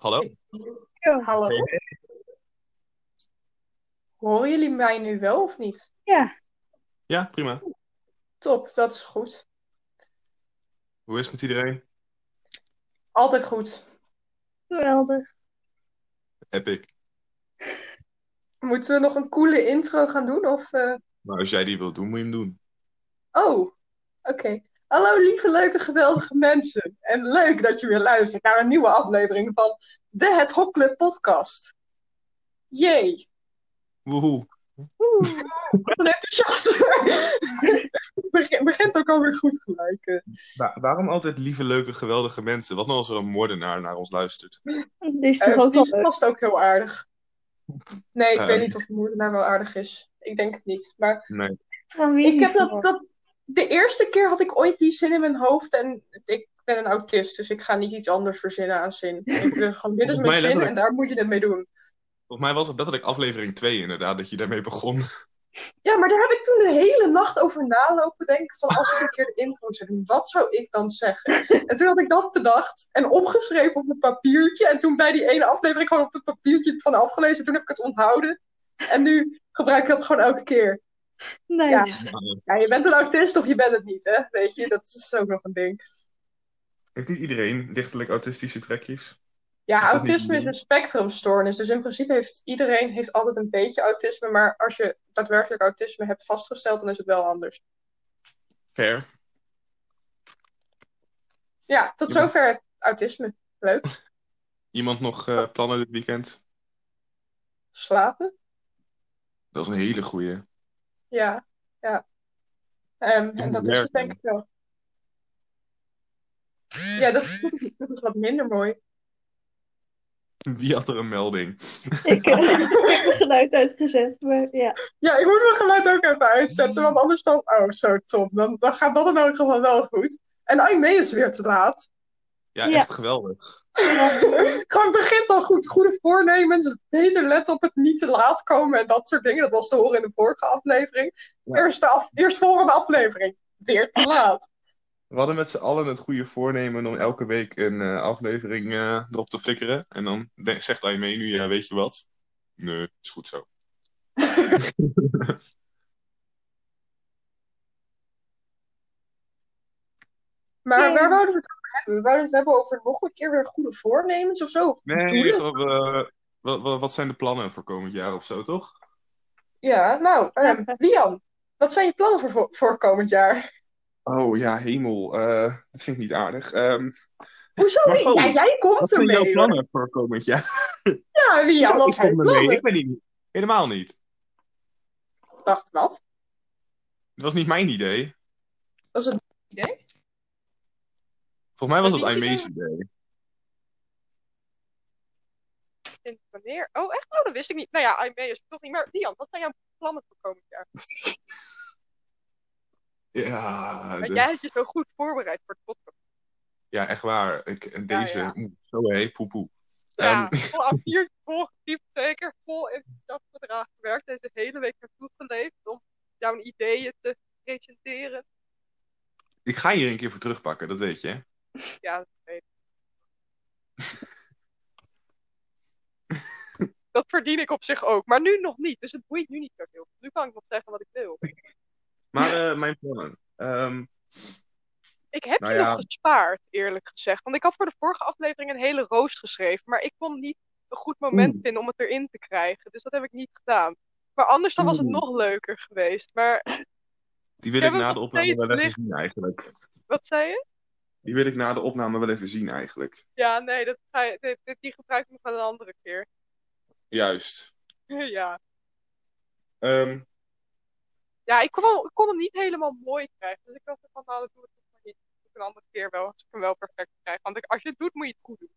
Hallo? Ja, hallo. Horen jullie mij nu wel of niet? Ja, Ja, prima. Top, dat is goed. Hoe is het met iedereen? Altijd goed. geweldig. Epic. Moeten we nog een coole intro gaan doen? Of, eh, Maar als jij die wilt doen, moet je hem doen. Oh, oké. Hallo lieve, leuke, geweldige mensen. En leuk dat je weer luistert naar een nieuwe aflevering van de Het Hok Club podcast. Jee, Woehoe. Oeh. wat een enthousiasme. Beg- Begint ook alweer goed gelijk. eh. Wa- waarom altijd lieve, leuke, geweldige mensen? Wat nou als er een moordenaar naar ons luistert? Dit is toch Eh, die ook wel is leuk? vast ook heel aardig. Nee, ik Ehm. weet niet of de moordenaar wel aardig is. Ik denk het niet. Maar Nee. Van wie Ik heb dat, gehoord? dat. De eerste keer had ik ooit die zin in mijn hoofd. En ik ben een autist, dus ik ga niet iets anders verzinnen aan zin. Ik wil gewoon, dit is Volgens mijn mij zin letterlijk. en daar moet je het mee doen. Volgens mij was het letterlijk aflevering 2 inderdaad, dat je daarmee begon. Ja, maar daar heb ik toen de hele nacht over nalopen denken. Van als ik een keer de intro zou doen, wat zou ik dan zeggen? En toen had ik dat bedacht en opgeschreven op een papiertje. En toen bij die ene aflevering gewoon op het papiertje van afgelezen. Toen heb ik het onthouden. En nu gebruik ik dat gewoon elke keer. Nice. Ja, je bent een autist of je bent het niet, hè? Weet je, dat is ook nog een ding. Heeft niet iedereen lichtelijk autistische trekjes? Ja, Is dat niet autisme een is ding? een spectrumstoornis. Dus in principe heeft iedereen heeft altijd een beetje autisme. Maar als je daadwerkelijk autisme hebt vastgesteld, dan is het wel anders. Fair. Ja, tot Ja. zover het autisme. Iemand nog eh, plannen dit weekend? Slapen? Dat is een hele goeie. Ja, ja. Ehm, en moet dat is het werken. denk ik wel. Ja, dat, dat is wat minder mooi. Wie had er een melding? Ik, eh, ik heb mijn geluid uitgezet, maar ja. Ja, ik moet mijn geluid ook even uitzetten, want anders dan... Oh, zo, Tom. Dan, dan gaat dat in elk geval wel goed. En Aimee is weer te laat. Ja, Ja. echt geweldig. Gewoon begint al goed. Goede voornemens. Beter letten op het niet te laat komen en dat soort dingen. Dat was te horen in de vorige aflevering. Ja. Eerste af, eerstvolgende aflevering. Weer te laat. We hadden met z'n allen het goede voornemen om elke week een eh, aflevering eh, erop te flikkeren. En dan de- zegt hij mee nu, ja, weet je wat? Nee, is goed zo. Maar Ja. waar wouden we het over hebben? We wouden het hebben over nog een keer weer goede voornemens of zo. Doe Nee, het. gewoon, eh, wat, wat, wat zijn de plannen voor komend jaar of zo, toch? Ja, nou, ehm Lian, wat zijn je plannen voor- voor, voor komend jaar? Oh ja, hemel. eh, dat vind ik niet aardig. Ehm, Hoezo? Maar niet? gewoon, Ja, jij komt wat zijn jouw ermee. hoor. plannen voor komend jaar? Ja, Lian, Zo, wat ik zijn kom je ermee. plannen? Ik weet niet. Helemaal niet. Wacht, wat? Het was niet mijn idee. Was het een idee? Volgens mij Dat was dat is Aimee's idee. in wanneer? Oh, echt? Oh, dat wist ik niet. Nou ja, IME is toch niet. Maar Dian, wat zijn jouw plannen voor komend jaar? Ja, Want de- jij hebt je zo goed voorbereid voor het podcast. ja, echt waar. Ik, deze, ja. oeh, zo hé, poepoe. Ja, Ehm. vol A4, vol typteken, vol enthousiast gedragen gewerkt. Deze hele week naartoe geleefd om jouw ideeën te presenteren. Ik ga hier een keer voor terugpakken, dat weet je. hè? Ja, dat weet ik. Dat verdien ik op zich ook, maar nu nog niet. Dus het boeit nu niet zo veel. Nu kan ik nog zeggen wat ik wil. Maar eh, mijn plannen. Ehm, Ik heb Nou die ja. nog gespaard, eerlijk gezegd. Want ik had voor de vorige aflevering een hele roost geschreven. Maar ik kon niet een goed moment Oeh. vinden om het erin te krijgen. Dus dat heb ik niet gedaan. Maar anders dan was het Oeh. nog leuker geweest. Maar die wil Ik heb ik na hem de nog opname steeds wel even liggen. zien eigenlijk. wat zei je? Die wil ik na de opname wel even zien eigenlijk. Ja, nee, dat ga je, dit- dit- die gebruik ik nog wel een andere keer. Juist. ja. Ehm, ja, ik kon, wel- ik kon hem niet helemaal mooi krijgen. Dus ik dacht van, nou, dat doe ik nog maar niet. Dat doe ik een andere keer wel, als ik hem wel perfect krijg. Want ik- als je het doet, moet je het goed doen.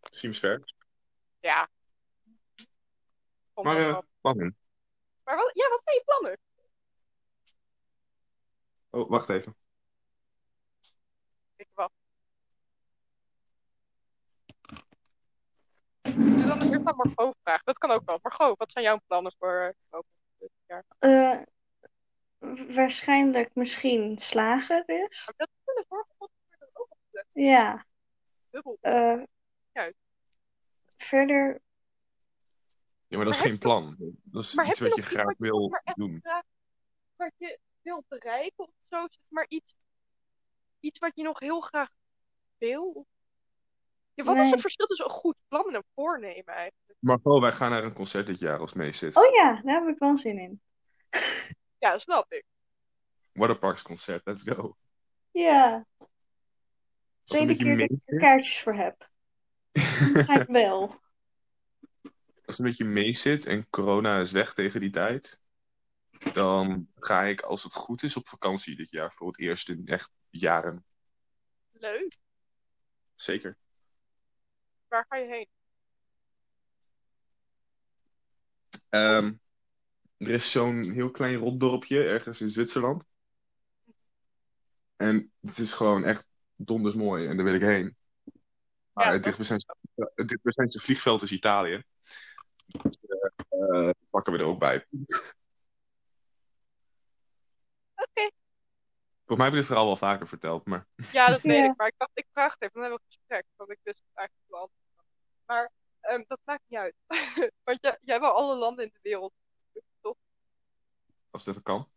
seems fair. Ja. Vond Maar ik eh, wel. plannen. maar wat, ja, wat zijn je plannen? Oh, wacht even. Ik wacht. Dus dan eerst aan Margot vragen. Dat kan ook wel. Margot, wat zijn jouw plannen voor eh, dit jaar? Eh, waarschijnlijk misschien slagen dus. Maar dat kunnen vorige podcast ook al Ja. dubbel. eh, Juist. verder. Ja, maar dat is Maar geen heb je plan. Dat is maar iets heb wat je je nog iets graag wat je wil maar echt doen. graag wat je wilt bereiken of zo, zeg maar iets, iets wat je nog heel graag wil. Ja, wat is Nee. het verschil tussen een goed plan en een voornemen eigenlijk? Margot, wij gaan naar een concert dit jaar als meezit. Oh ja, daar heb ik wel zin in. Ja, dat snap ik. Waterparks concert, let's go. Ja, Als een tweede beetje keer dat ik er meezit, kaartjes voor heb. Dan Ga ik wel. als het een beetje meezit en corona is weg tegen die tijd, dan ga ik als het goed is op vakantie dit jaar voor het eerst in echt jaren. Leuk. Zeker. Waar ga je heen? Ehm, er is zo'n heel klein rotdorpje ergens in Zwitserland. En het is gewoon echt donders mooi en daar wil ik heen. Maar het, Ja, dat- dichtstbijzijnse, het dichtstbijzijnse vliegveld is Italië. Dus, eh, eh, pakken we er ook bij. Oké. Volgens mij heb ik dit verhaal wel vaker verteld, maar Ja, dat weet Ja. ik. Maar ik dacht, ik vraag het even. Dan hebben we een gesprek. Want ik wist het eigenlijk wel. Maar ehm, dat maakt niet uit. Want jij, jij wil alle landen in de wereld. als dat kan.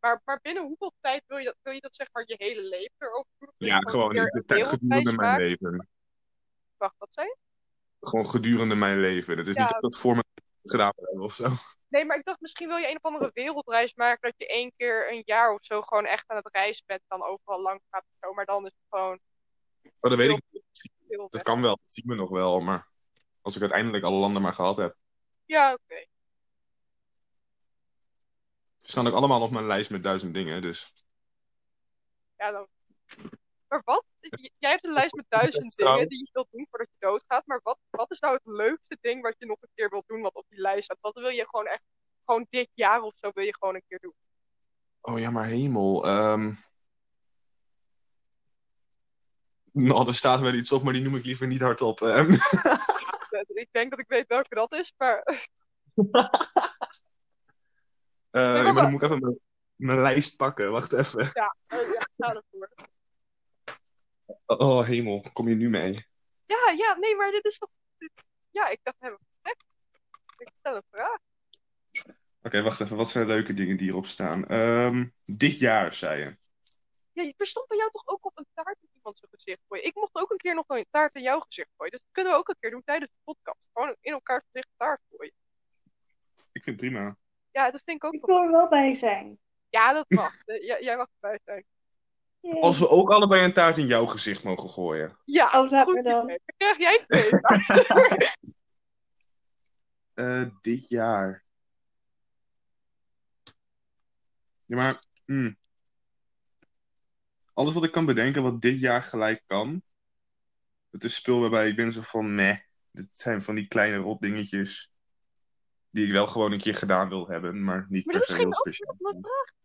Maar, maar binnen hoeveel tijd wil je dat, wil je dat zeg maar je hele leven erover doen? Wil je Ja, gewoon weer ik- een tijd wereldreis gedurende mijn maken? leven. Wacht, wat zei je? Gewoon gedurende mijn leven. Het is Ja. niet dat ik dat voor me gedaan hebben of zo. Nee, maar ik dacht misschien wil je een of andere wereldreis maken. Dat je één keer een jaar of zo gewoon echt aan het reizen bent. Dan overal lang gaat of zo. Maar dan is het gewoon Maar Oh, dat weet ik niet. veel Dat weg. kan wel. Dat zien we nog wel. Maar als ik uiteindelijk alle landen maar gehad heb. Ja, oké. Ze staan ook allemaal op mijn lijst met duizend dingen. Dus Ja, dan... Maar wat? J- Jij hebt een lijst met duizend Trouwens. dingen die je wilt doen voordat je doodgaat. Maar wat, wat is nou het leukste ding wat je nog een keer wilt doen wat op die lijst staat? Wat wil je gewoon echt, gewoon dit jaar of zo wil je gewoon een keer doen? Oh ja, maar hemel. ehm. Nou, er staat wel iets op, maar die noem ik liever niet hardop. ehm. Eh, Ik denk dat ik weet welke dat is, maar Eh, maar maar wat- dan moet ik even mijn, mijn lijst pakken. Wacht even. eh, ja, ga ervoor. Oh hemel, kom je nu mee? Ja, ja, nee, maar dit is toch... dit- Ja, ik dacht, hebben we gezegd? Ik stel een vraag. Oké, wacht even. Wat zijn leuke dingen die hierop staan? Ehm, dit jaar, zei je. Ja, er stond bij jou toch ook op een taart in iemand zijn gezicht gooien? Ik mocht ook een keer nog een taart in jouw gezicht gooien. Dus dat kunnen we ook een keer doen tijdens de podcast. Gewoon in elkaar gezicht taart gooien. Ik vind het prima. Ja, dat vind ik ook Ik wel. wil er wel bij zijn. Ja, dat mag. Eh, j- jij mag erbij zijn. Yay. Als we ook allebei een taart in jouw gezicht mogen gooien. Ja, Oh, laat goed maar dan. idee. Dan krijg jij twee. Maar Eh, dit jaar. Ja, maar. mm. Alles wat ik kan bedenken wat dit jaar gelijk kan. Het is spul waarbij ik ben zo van meh. Dit zijn van die kleine rotdingetjes. Die ik wel gewoon een keer gedaan wil hebben, maar niet Maar per dat se is heel geen speciaal. antwoord op mijn vraag.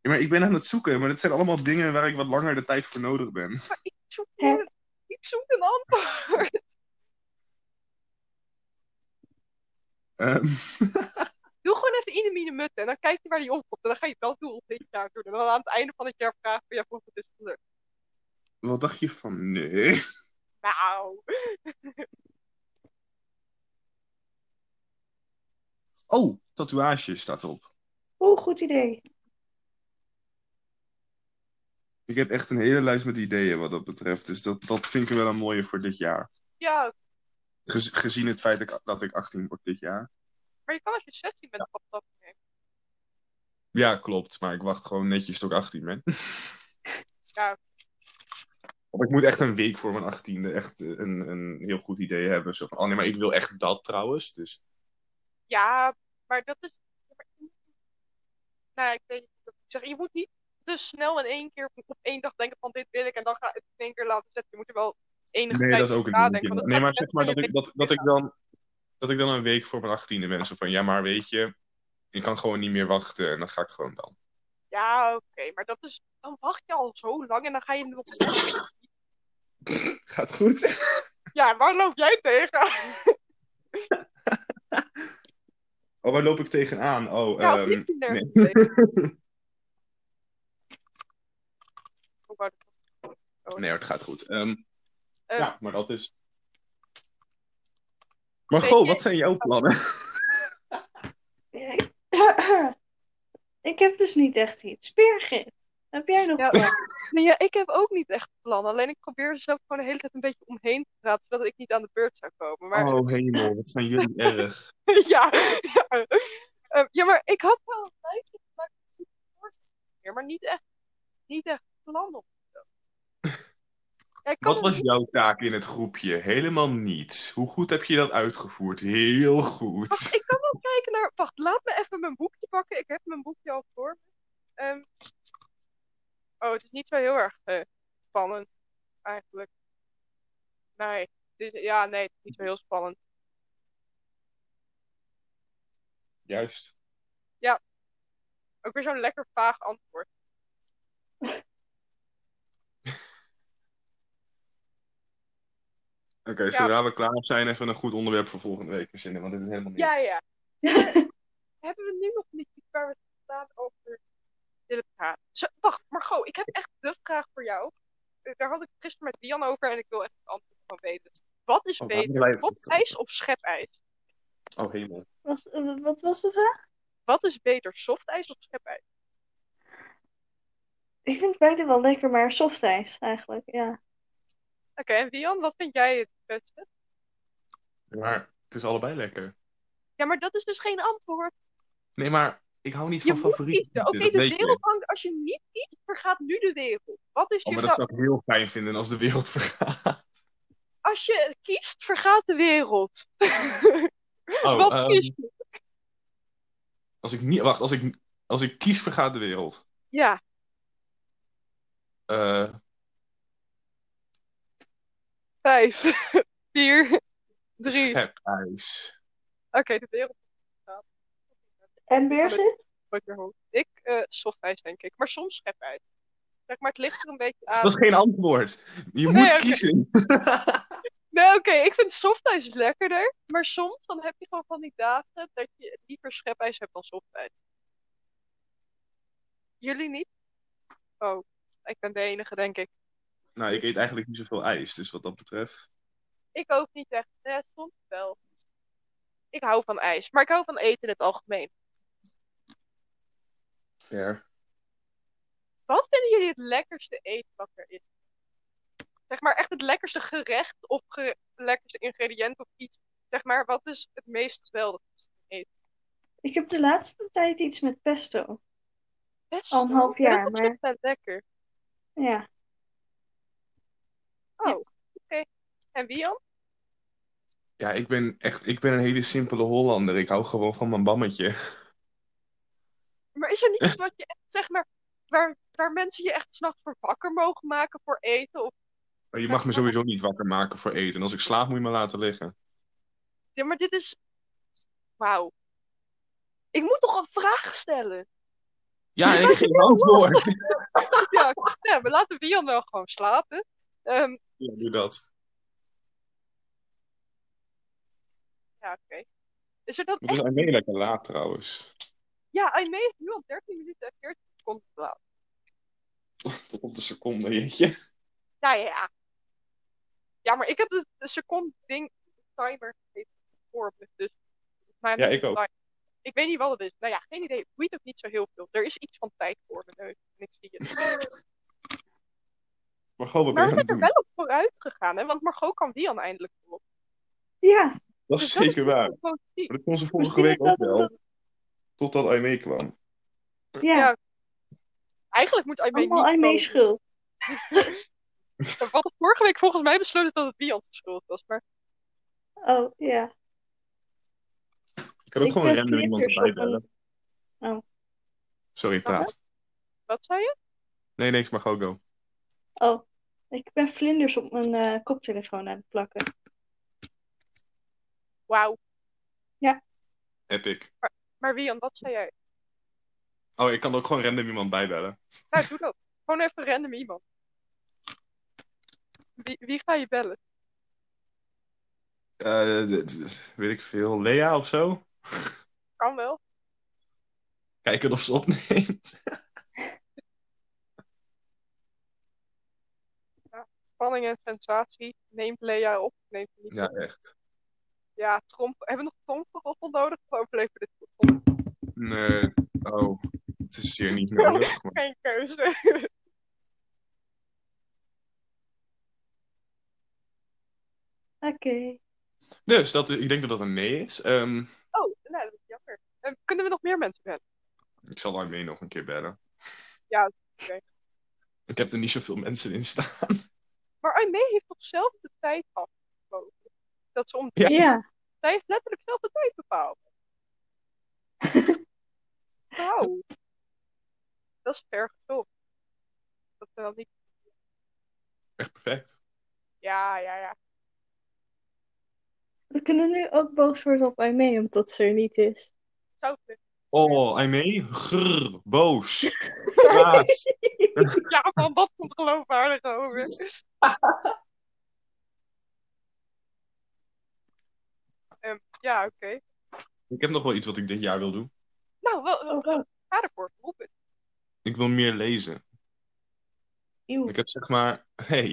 Ja, maar ik ben aan het zoeken, maar het zijn allemaal dingen waar ik wat langer de tijd voor nodig ben. Maar ik zoek, Hè? een- ik zoek een antwoord. Ehm, Doe gewoon even in de mine mutten en dan kijk je waar die opkomt. En dan ga je het wel doel dit jaar doen. En dan aan het einde van het jaar vragen van ja, of het is gelukt. wat dacht je van nee? Nou, Oh, tatoeage staat erop. Oeh, goed idee. Ik heb echt een hele lijst met ideeën wat dat betreft. Dus dat, dat vind ik wel een mooie voor dit jaar. ja. Gez- gezien het feit dat ik, dat ik 18 word dit jaar. Maar je kan als je 16 bent pas dat doen. Ja, klopt. Maar ik wacht gewoon netjes tot ik 18 ben. Ja. Want ik moet echt een week voor mijn 18e echt eh, een, een heel goed idee hebben. Zo van, oh nee, maar ik wil echt dat trouwens. Dus Ja, maar dat is. Nou, ik weet niet. Ik zeg, je moet niet te snel in één keer op één dag denken van dit wil ik en dan ga ik het in één keer laten zetten. Je moet er wel enige nee, tijd dat is ook over een nadenken, ding. want Nee, het maar gaat zeg maar dat best wel ik, je dat, dat ik, dan, dat ik dan een week voor mijn 18e ben. Zo van, ja, maar weet je, ik kan gewoon niet meer wachten. En dan ga ik gewoon dan. Ja, oké, maar dat is. Dan wacht je al zo lang en dan ga je nog. Gaat goed. Ja, waar loop jij tegen? Ehm, Oh, waar loop ik tegenaan? Oh, Ja, ehm, of niet er. nee. Oh, wauw. Oh, Nee, hoor, het gaat goed. Ehm, Eh. ja, maar dat is. Maar Weet Oh, goh, je- wat zijn jouw plannen? Ik heb dus niet echt iets. Birgit, heb jij nog Ja. wat? Nee, ja, ik heb ook niet echt plannen. Alleen ik probeer er zelf gewoon de hele tijd een beetje omheen te praten, zodat ik niet aan de beurt zou komen. Maar Oh hemel, wat zijn jullie erg. ja, ja. Ehm, ja, maar ik had wel een lijstje gemaakt met iets voor te doen, maar niet echt, niet echt plannen of zo. Ja, ik kan Wat er was niet- jouw taak in het groepje? Helemaal niets. Hoe goed heb je dat uitgevoerd? Heel goed. Ik kan wel kijken naar. Wacht, laat me even mijn boekje pakken. Ik heb mijn boekje al voor me. Ehm, oh, het is niet zo heel erg eh, spannend, eigenlijk. Nee, dit, ja, nee, het is niet zo heel spannend. Juist. Ook weer zo'n lekker vaag antwoord. Oké, zodra we klaar zijn, even een goed onderwerp voor volgende week verzinnen, want dit is helemaal niet. Ja, ja. Hebben we nu nog niet iets waar we staan over willen praten? Zo, wacht, Margot, ik heb echt de vraag voor jou. Eh, Daar had ik het gisteren met Dian over en ik wil echt het antwoord van weten. Wat is Oh, waarom beter, blijft het? softijs of schepijs? Oh hemel. Wat, eh, wat was de vraag? Wat is beter, softijs of schepijs? Ik vind beide wel lekker, maar softijs eigenlijk, ja. Oké, en Dian, wat vind jij het beste? Maar het is allebei lekker. Ja, maar dat is dus geen antwoord. Nee, maar ik hou niet Je van moet favorieten. kiezen. Oké, dat de weet je. wereld hangt. Als je niet kiest, vergaat nu de wereld. Wat is Oh, je maar dat fa- zou ik heel fijn vinden als de wereld vergaat. Als je kiest, vergaat de wereld. Oh, Wat ehm, kies je? als ik niet, wacht, als ik, als ik kies, vergaat de wereld. Ja. Eh, Vijf, vier, drie. Oké, schepijs. de wereld En Birgit? wordt weer hoog. Ik, eh softijs denk ik. Maar soms schep uit. Zeg maar, het ligt er een beetje aan. Dat is geen antwoord. Je moet Ah. Nee, oké. kiezen. Nee, oké, ik vind softijs lekkerder. Maar soms dan heb je gewoon van die dagen dat je liever schepijs hebt dan softijs. Jullie niet? Oh, ik ben de enige, denk ik. Nou, ik eet eigenlijk niet zoveel ijs, dus wat dat betreft. Ik ook niet echt. Nee, soms wel. Ik hou van ijs, maar ik hou van eten in het algemeen. Fair. Wat vinden jullie het lekkerste eten wat er is? Zeg maar echt het lekkerste gerecht of ge- lekkerste ingrediënt of iets. Zeg maar, wat is het meest geweldig? Ik heb de laatste tijd iets met pesto. Best Al een half wel. Ja, jaar, dat is maar- echt wel lekker. Ja. En wie dan? Ja, ik ben echt, ik ben een hele simpele Hollander. Ik hou gewoon van mijn bammetje. Maar is er niet iets wat je echt, zeg maar, waar, waar mensen je echt s'nachts voor wakker mogen maken voor eten? Of... Maar je mag me sowieso niet wakker maken voor eten. Als ik slaap, moet je me laten liggen. Ja, maar dit is. Wauw. Ik moet toch een vraag stellen? Ja, en ik geef antwoord. Ja, ja, we laten Wian wel gewoon slapen. Ehm, Ja, doe dat. ja, oké. Is er dan Het is echt... alleen lekker laat trouwens. Ja, Aimee heeft nu al 13 minuten en 14 seconden te laat. Tot op de seconde, jeetje. Ja, ja, ja. Ja, maar ik heb de, de seconde ding, de timer, heeft voor me, dus... volgens mij heb Ja, ik ik een ook. timer. Ik weet niet wat het is. Nou ja, geen idee. Het boeit ook niet zo heel veel. Er is iets van tijd voor mijn neus. En ik zie het. Maar gewoon wat ben Maar je we aan het zijn er doen? wel op vooruit gegaan, hè? Want Margot kan die dan eindelijk op. Ja, Dat is Dus dat is zeker waar. wel positief. Maar dat kon ze vorige misschien week is ook dat wel. omdat... Totdat Aimee kwam. Ja, Ja, Eigenlijk moet het is Aimee niet allemaal aan komen. mijn schuld. We hadden vorige week volgens mij besloten dat het Wian schuld was. Maar Oh, ja. Ik kan ook Ik gewoon heb random iemand knikkers erbij op een- bellen. Sorry, praat. wat zei je? Nee, niks, maar gewoon go. Oh, ik ben vlinders op mijn eh, koptelefoon aan het plakken. Wauw. Epic. Maar Wian, wat zei jij? Oh, ik kan ook gewoon random iemand bijbellen. Nou, doe dat. Gewoon even random iemand. Wie, wie ga je bellen? Eh, d- d- weet ik veel. Lea of zo? Kan wel. Kijken of ze opneemt. spanning en sensatie neemt Lea op, neemt ze niet Ja, op. echt. Ja, tromp. Hebben we nog tromp voor roffel nodig? Of overleven we dit goed? Nee. Oh, het is zeer niet nodig. maar- Geen keuze. Oké. Dus dat, ik denk dat dat een nee is. Ehm, Oh, nou, dat is jammer. Eh, kunnen we nog meer mensen bellen? ik zal daarmee nog een keer bellen. Ja, oké. oké. Ik heb er niet zoveel mensen in staan. Maar Aimee heeft toch zelf de tijd afgesproken? Dat ze om... Ja. Ja. Zij heeft letterlijk zelf de tijd bepaald. nou. Dat is ver gezocht. Dat ze dat niet... Echt perfect. Ja, ja, ja. We kunnen nu ook boos worden op Aimee omdat ze er niet is. Zou kunnen. Oh, I mee? Grrr, boos. Kwaad. Ja, man, dat komt geloofwaardig over. Ehm, ja, oké. Ik heb nog wel iets wat ik dit jaar wil doen. Nou, wel, wel, Oh, oh. ga ervoor. Roep het. Ik wil meer lezen. Eeuw. Ik heb zeg maar... Hey.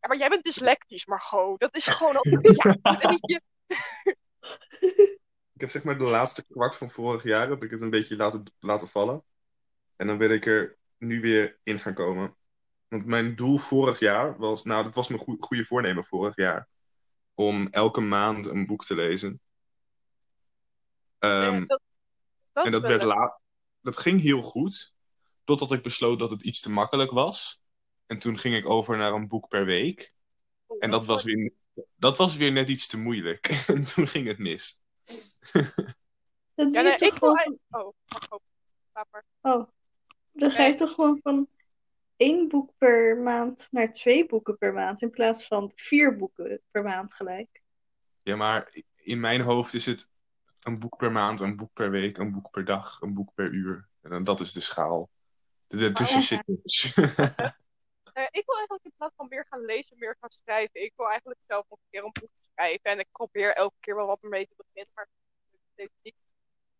Ja, maar jij bent dyslectisch, Margot. Dat is gewoon al... Ja, weet je. Ik heb zeg maar de laatste kwart van vorig jaar heb ik het een beetje laten, laten vallen. En dan ben ik er nu weer in gaan komen. Want mijn doel vorig jaar was, nou dat was mijn goe- goede voornemen vorig jaar. Om elke maand een boek te lezen. Ehm, Ja, dat, en dat is dat, wel werd leuk. la- dat ging heel goed. Totdat ik besloot dat het iets te makkelijk was. En toen ging ik over naar een boek per week. En Oh, dat was weer, dat was weer net iets te moeilijk. en toen ging het mis. Dat Ja, doe nee, je ik toch wil gewoon... eigenlijk- Oh, wacht, oh, laat maar. Oh, dan ga je Nee. toch gewoon van één boek per maand naar twee boeken per maand in plaats van vier boeken per maand gelijk. Ja, maar in mijn hoofd is het een boek per maand, een boek per week, een boek per dag, een boek per uur. En dan- dat is de schaal. Daartussen Oh. zit niks. Eh, ik wil eigenlijk in plaats van meer gaan lezen, meer gaan schrijven. Ik wil eigenlijk zelf nog een keer een boek schrijven. En ik probeer elke keer wel wat mee te beginnen, maar het lukt niet.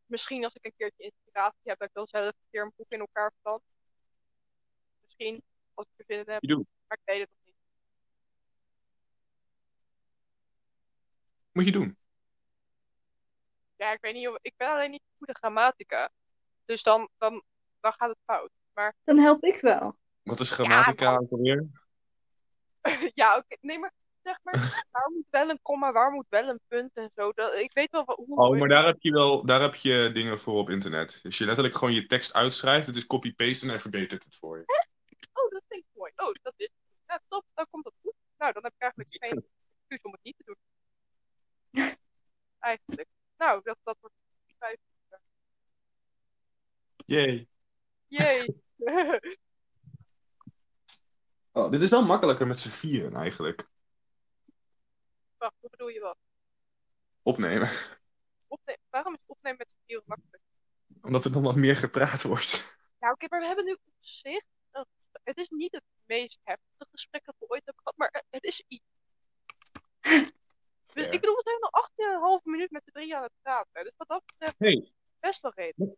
Misschien als ik een keertje inspiratie heb, dat ik dan zelf een keer een boek in elkaar plant. Misschien, als ik er zin in heb. Je doet. Maar ik weet het nog niet. Moet je doen. Ja, ik weet niet of... Ik ben alleen niet goed in grammatica. Dus dan, dan, dan gaat het fout. Dan help ik wel. Wat is grammatica ook alweer? Ja, oké. Nee, maar zeg maar, waar moet wel een komma, waar moet wel een punt en zo. Dat, ik weet wel wat- hoe... Oh, maar daar heb je wel, daar heb je dingen voor op internet. Dus je letterlijk gewoon je tekst uitschrijft, het is copy-paste en hij verbetert het voor je. Oh, dat klinkt mooi. Oh, dat is... Ja, top, dan komt dat goed. Nou, dan heb ik eigenlijk geen excuus om het niet te doen. Eigenlijk. Nou, dat, dat wordt... Jee. Jee. Oh, dit is wel makkelijker met z'n vieren eigenlijk. Wacht, hoe bedoel je wat? Opnemen. Opnemen. Waarom is opnemen met z'n vieren makkelijk? Omdat er dan wat meer gepraat wordt. Nou, oké, maar we hebben nu op zich... een- Het is niet het meest heftige gesprek dat we ooit hebben gehad, maar het is iets. Dus ik Fair. bedoel, we zijn al 18,5 minuut met de drie aan het praten. Dus wat dat betreft, Hey. best wel redelijk.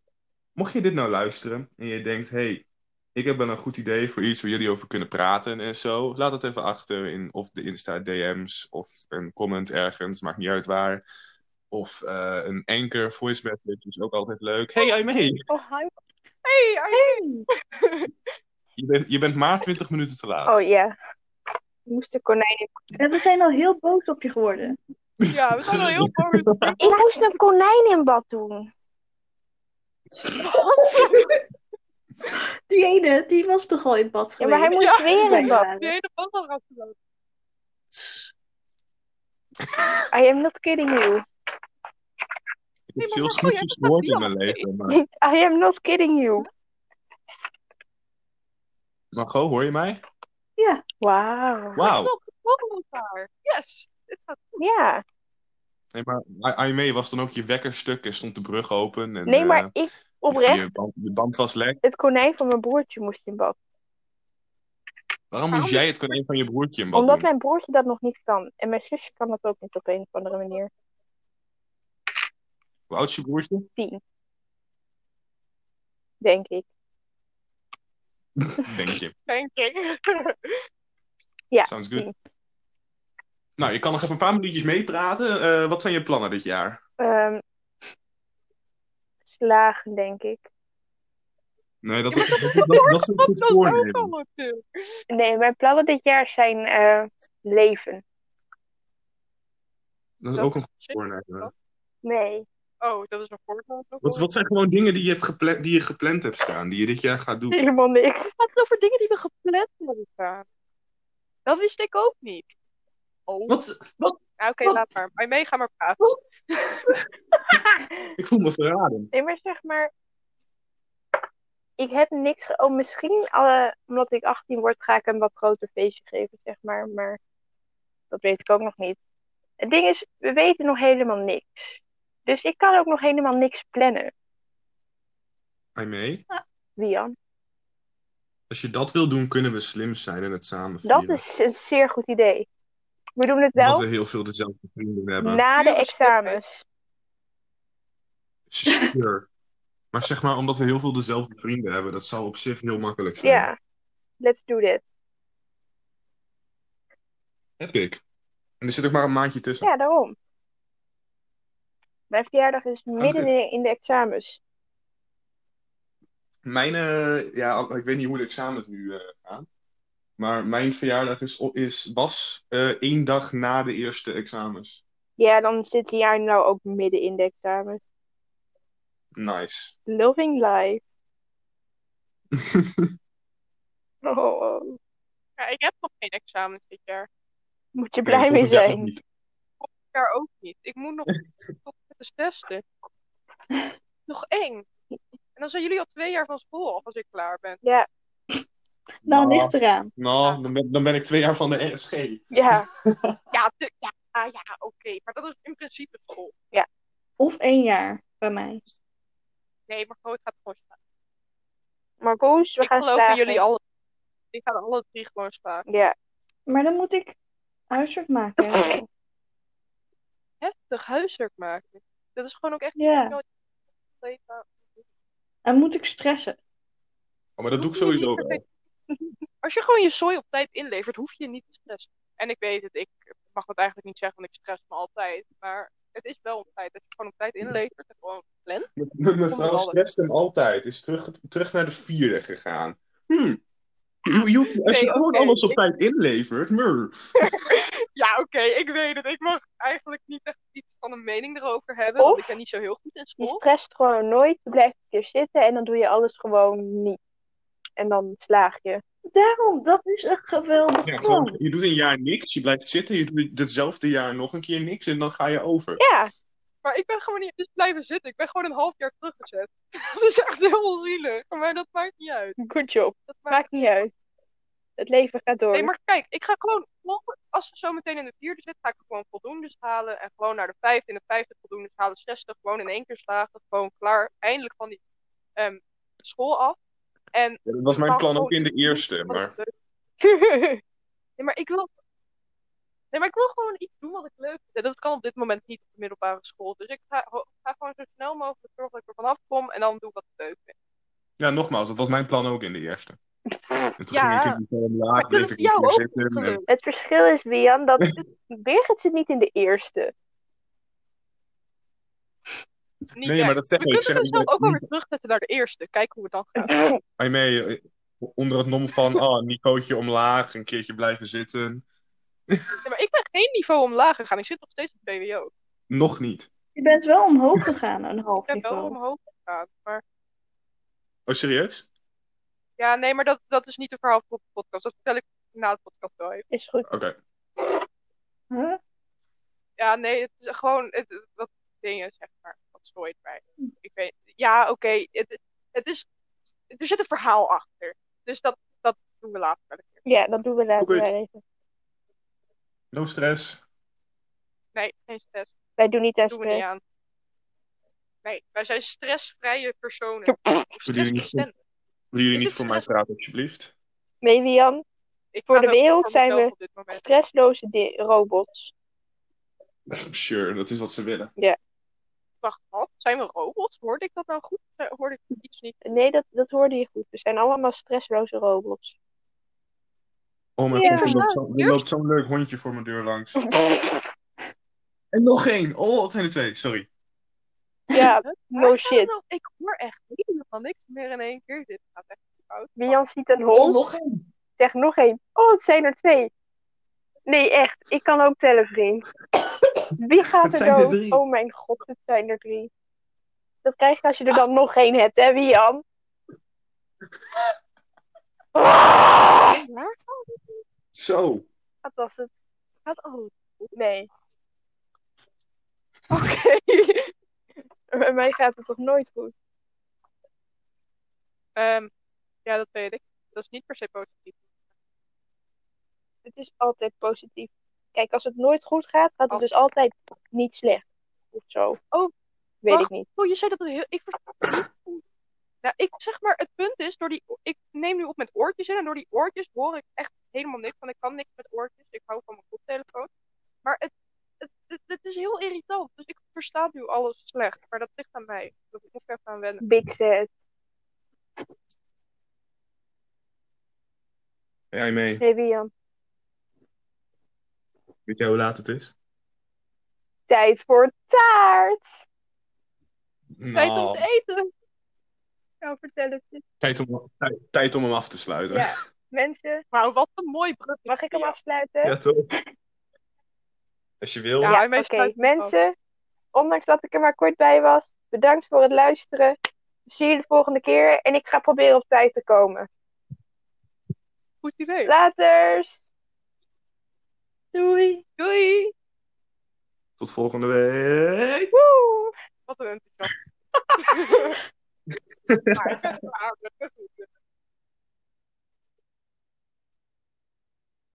Mocht je dit nou luisteren en je denkt, hey, ik heb wel een goed idee voor iets waar jullie over kunnen praten en zo, laat het even achter in of de Insta-DM's of een comment ergens, maakt niet uit waar. Of eh, een anchor voice message is ook altijd leuk. Hey, jij mee? Oh, hi. Hey, Arjen. Je bent, je bent maar 20 minuten te laat. Oh ja. Ik moest de konijn. En we zijn al heel boos op je geworden. Ja, we zijn al heel mooi. Ik moest een konijn in bad doen. Die ene, die was toch al in bad Ja, maar hij geweest? moest Ja. weer in bad. Ja. Die hele band al afgelopen. I am not kidding you. Ik heb maar veel Marco, jij snoetjes bent nooit in dat mijn niet leven. Maar, I am not kidding you. Margot, hoor je mij? Wauw. Wauw. Toch, volgen we elkaar. Yes. Dit gaat goed. Ja. Nee, maar Aimee E was dan ook je wekker stuk en stond de brug open. En, Nee, eh, maar ik oprecht. Je band, je band was lek. Het konijn van mijn broertje moest in bad. Waarom moest Waarom- jij het konijn van je broertje in bad Omdat doen? mijn broertje dat nog niet kan. En mijn zusje kan dat ook niet op een of andere manier. Hoe oud is je broertje? Denk ik. Denk je. Denk ik. Ja, Sounds good. tien. Nou, je kan nog even een paar minuutjes meepraten. Eh, wat zijn je plannen dit jaar? Ehm, slagen, denk ik. Nee, dat, dat, dat, dat is een goed Dat is ook voornemen. al een film. Nee, mijn plannen dit jaar zijn eh, leven. Dat is ook een goed voornemen. Nee. Oh, dat is een voorbeeld. Wat, wat zijn gewoon dingen die je, hebt gepland, die je gepland hebt staan, die je dit jaar gaat doen? Helemaal niks. gaat het over dingen die we gepland hebben staan? Dat wist ik ook niet. Oh. Wat? wat? Nou, oké, Wat? laat maar. Maar mee, ga maar praten. Ik voel me verraden. Nee, maar zeg maar. Ik heb niks. ge- Oh, misschien eh, omdat ik 18 word, ga ik een wat groter feestje geven, zeg maar. Maar dat weet ik ook nog niet. Het ding is, we weten nog helemaal niks. Dus ik kan ook nog helemaal niks plannen, Ga je mee? Wian. Als je dat wil doen, kunnen we slim zijn en het samen Dat vieren. is een zeer goed idee. We doen het Omdat wel Nou. we heel veel dezelfde vrienden hebben. na de Ja, dat is examens. Sure. Maar zeg maar, omdat we heel veel dezelfde vrienden hebben, dat zou op zich heel makkelijk zijn. Ja, let's do that. Heb ik. En er zit ook maar een maandje tussen. Ja, daarom. Mijn verjaardag is midden in- in de examens. Mijn, eh, ja, ik weet niet hoe de examens nu eh, gaan. Maar mijn verjaardag is, is was eh, één dag na de eerste examens. Ja, dan zit het jaar nou ook midden in de examens. Nice. Loving life. Oh, oh. Ja, ik heb nog geen examen dit jaar. Moet je Nee, blij mee volgend jaar ook zijn. niet. Dit jaar ook niet. Ik moet nog tot met de testen. Nog één. En dan zijn jullie al twee jaar van school af als ik klaar ben. Ja, Nou, Nou, ligt eraan. nou, dan, ben, dan ben ik twee jaar van de RSG. ja. Ja, tu- ja, ah, ja oké. Maar dat is in principe school. Of één jaar bij mij. Nee, maar gewoon, ik ga het gewoon staan. Marcoes, we ik gaan geloof in slagen. jullie alle. Die gaan alle drie gewoon slagen. Ja. Maar dan moet ik huiswerk maken. hè? Heftig huiswerk maken. Dat is gewoon ook echt Ja. nooit leven. En moet ik stressen? Oh, maar dat doe ik Hoef je sowieso wel. niet perfect- Als je gewoon je zooi op tijd inlevert, hoef je niet te stressen. En ik weet het, ik mag dat eigenlijk niet zeggen, want ik stress me altijd. Maar het is wel op tijd. Dat je gewoon op tijd inlevert en gewoon plant. Mijn mijn vrouw Onderballen. stresst hem altijd. Is terug, terug naar de vierde gegaan. Hm. Je, je hoeft, als je Nee, gewoon oké. alles op Ik- tijd inlevert, mur. Ja, oké, ik weet het. Ik mag eigenlijk niet echt iets van een mening erover hebben, want Of- ik ben niet zo heel goed in Je school. stresst gewoon nooit. Je blijft een keer zitten en dan doe je alles gewoon niet. En dan slaag je. Daarom, dat is een geweldig Ja, plan. gewoon, je doet een jaar niks, je blijft zitten, je doet hetzelfde jaar nog een keer niks en dan ga je over. Ja, Maar ik ben gewoon niet dus blijven zitten. Ik ben gewoon een half jaar teruggezet. Dat is echt heel zielig, maar dat maakt niet uit. good job. Dat maakt Maakt niet uit. Het leven gaat door. Nee, maar kijk, ik ga gewoon, volgende- als ze zo meteen in de vierde zit, ga ik er gewoon voldoendes halen. En gewoon naar de vijfde, in de vijfde voldoendes halen, zestig, gewoon in één keer slagen. Gewoon klaar, eindelijk van die ehm, school af. En Ja, dat was mijn Maar plan ook gewoon- in de eerste, maar Nee, maar ik wil... Nee, maar ik wil gewoon iets doen wat ik leuk vind. En dat kan op dit moment niet op de middelbare school. Dus ik ga, ho- ga gewoon zo snel mogelijk zorgen dat ik er vanaf kom. En dan doe ik wat ik leuk vind. ja, nogmaals, dat was mijn plan ook in de eerste. En toen Ja. ging ik in omlaag, Maar bleef dat ik is jou een keer ook Ah, zitten. En, Gelukkig. Het verschil is, Wian, dat Birgit zit niet in de eerste. Niet nee, jij. maar dat zeg We ik. kunnen Zeg, onszelf ook wel weer ik terugzetten naar de eerste. Kijken hoe het dan gaat. I may, eh, onder het nom van, oh, Nicootje omlaag, een keertje blijven zitten. Nee, maar ik ben geen niveau omlaag gegaan. Ik zit nog steeds op BWO. Nog niet. Je bent wel omhoog gegaan, een half Ik ben wel niveau. omhoog gegaan. Maar Oh, serieus? ja, nee, maar dat, dat is niet een verhaal voor de podcast. Dat vertel ik na de podcast wel even. Is goed. Oké. Huh? Ja, nee, het is gewoon het, het- wat dingen, zeg maar. Wat stoort mij. Ik weet, ja, oké. het, het is, er zit een verhaal achter. Dus dat, dat doen we later wel een keer. Ja, dat doen we later Goed. wel even. No stress. Nee, geen stress. Wij doen niet aan Dat doen we niet stress. aan. Nee, wij zijn stressvrije personen. Of Bedoel je niet- stressresistent. Willen jullie Is niet het voor mij stress? praten, alsjeblieft? Nee, Wian, Ik Voor ga de wel wereld voor zijn we- mezelf op dit moment. stressloze di- robots. Sure, dat is wat ze willen. Wacht, wat? Zijn we robots? Hoorde ik dat nou goed? Eh, Hoorde ik iets niet? Nee, dat, dat hoorde je goed. We zijn allemaal stressloze robots. Oh mijn Ja. god, er loopt zo- er nou, Eerst- loopt zo'n leuk hondje voor mijn deur langs. En nog één. Oh, het zijn er twee. Sorry. Ja, Waar no gaat het shit. dan- Ik hoor echt helemaal niks meer in één keer. Dit gaat echt fout. Mian ziet een Oh, hond. nog één. Zeg nog één. Oh, het zijn er twee. Nee, echt. Ik kan ook tellen, vriend. Wie gaat Het er zijn er dood? drie. Oh mijn god, het zijn er drie. Dat krijg je als je er dan nog één hebt, hè, Wian? Ah, Oh, waar gaat het? Zo. dat was het. Gaat oh. al. Nee. Oké. Bij mij gaat het toch nooit goed? Ehm, ja, dat weet ik. Dat is niet per se positief. Het is altijd positief. Kijk, als het nooit goed gaat, gaat het dus altijd niet slecht. Of zo. Oh, Weet wacht. ik niet. Oh, je zei dat het heel... Ik versta- Nou, ik zeg maar, het punt is, door die... ik neem nu op met oortjes in en door die oortjes hoor ik echt helemaal niks, want ik kan niks met oortjes. Ik hou van mijn koptelefoon. Maar het, het, het, het is heel irritant, dus ik versta nu alles slecht. Maar dat ligt aan mij. Dat moet ik even aan wennen. Big set. Jij mee. Hey, Wian. Weet jij hoe laat het is? Tijd voor taart! Tijd Nou, om te eten! Nou, vertel het eens. tijd om, tijd, tijd om hem af te sluiten. Ja. Mensen, Wauw, wat een mooi brug. mag ik hem Ja. afsluiten? Ja, toch? Als je wil. Ja. Ja, en wij oké. sluiten hem af. Mensen, ondanks dat ik er maar kort bij was, bedankt voor het luisteren. We zien jullie de volgende keer en ik ga proberen op tijd te komen. Goed idee. Laters! Doei! Doei! Tot volgende week. Woe! Wat een enthousiast. maar ik ben klaar. Dat is goed.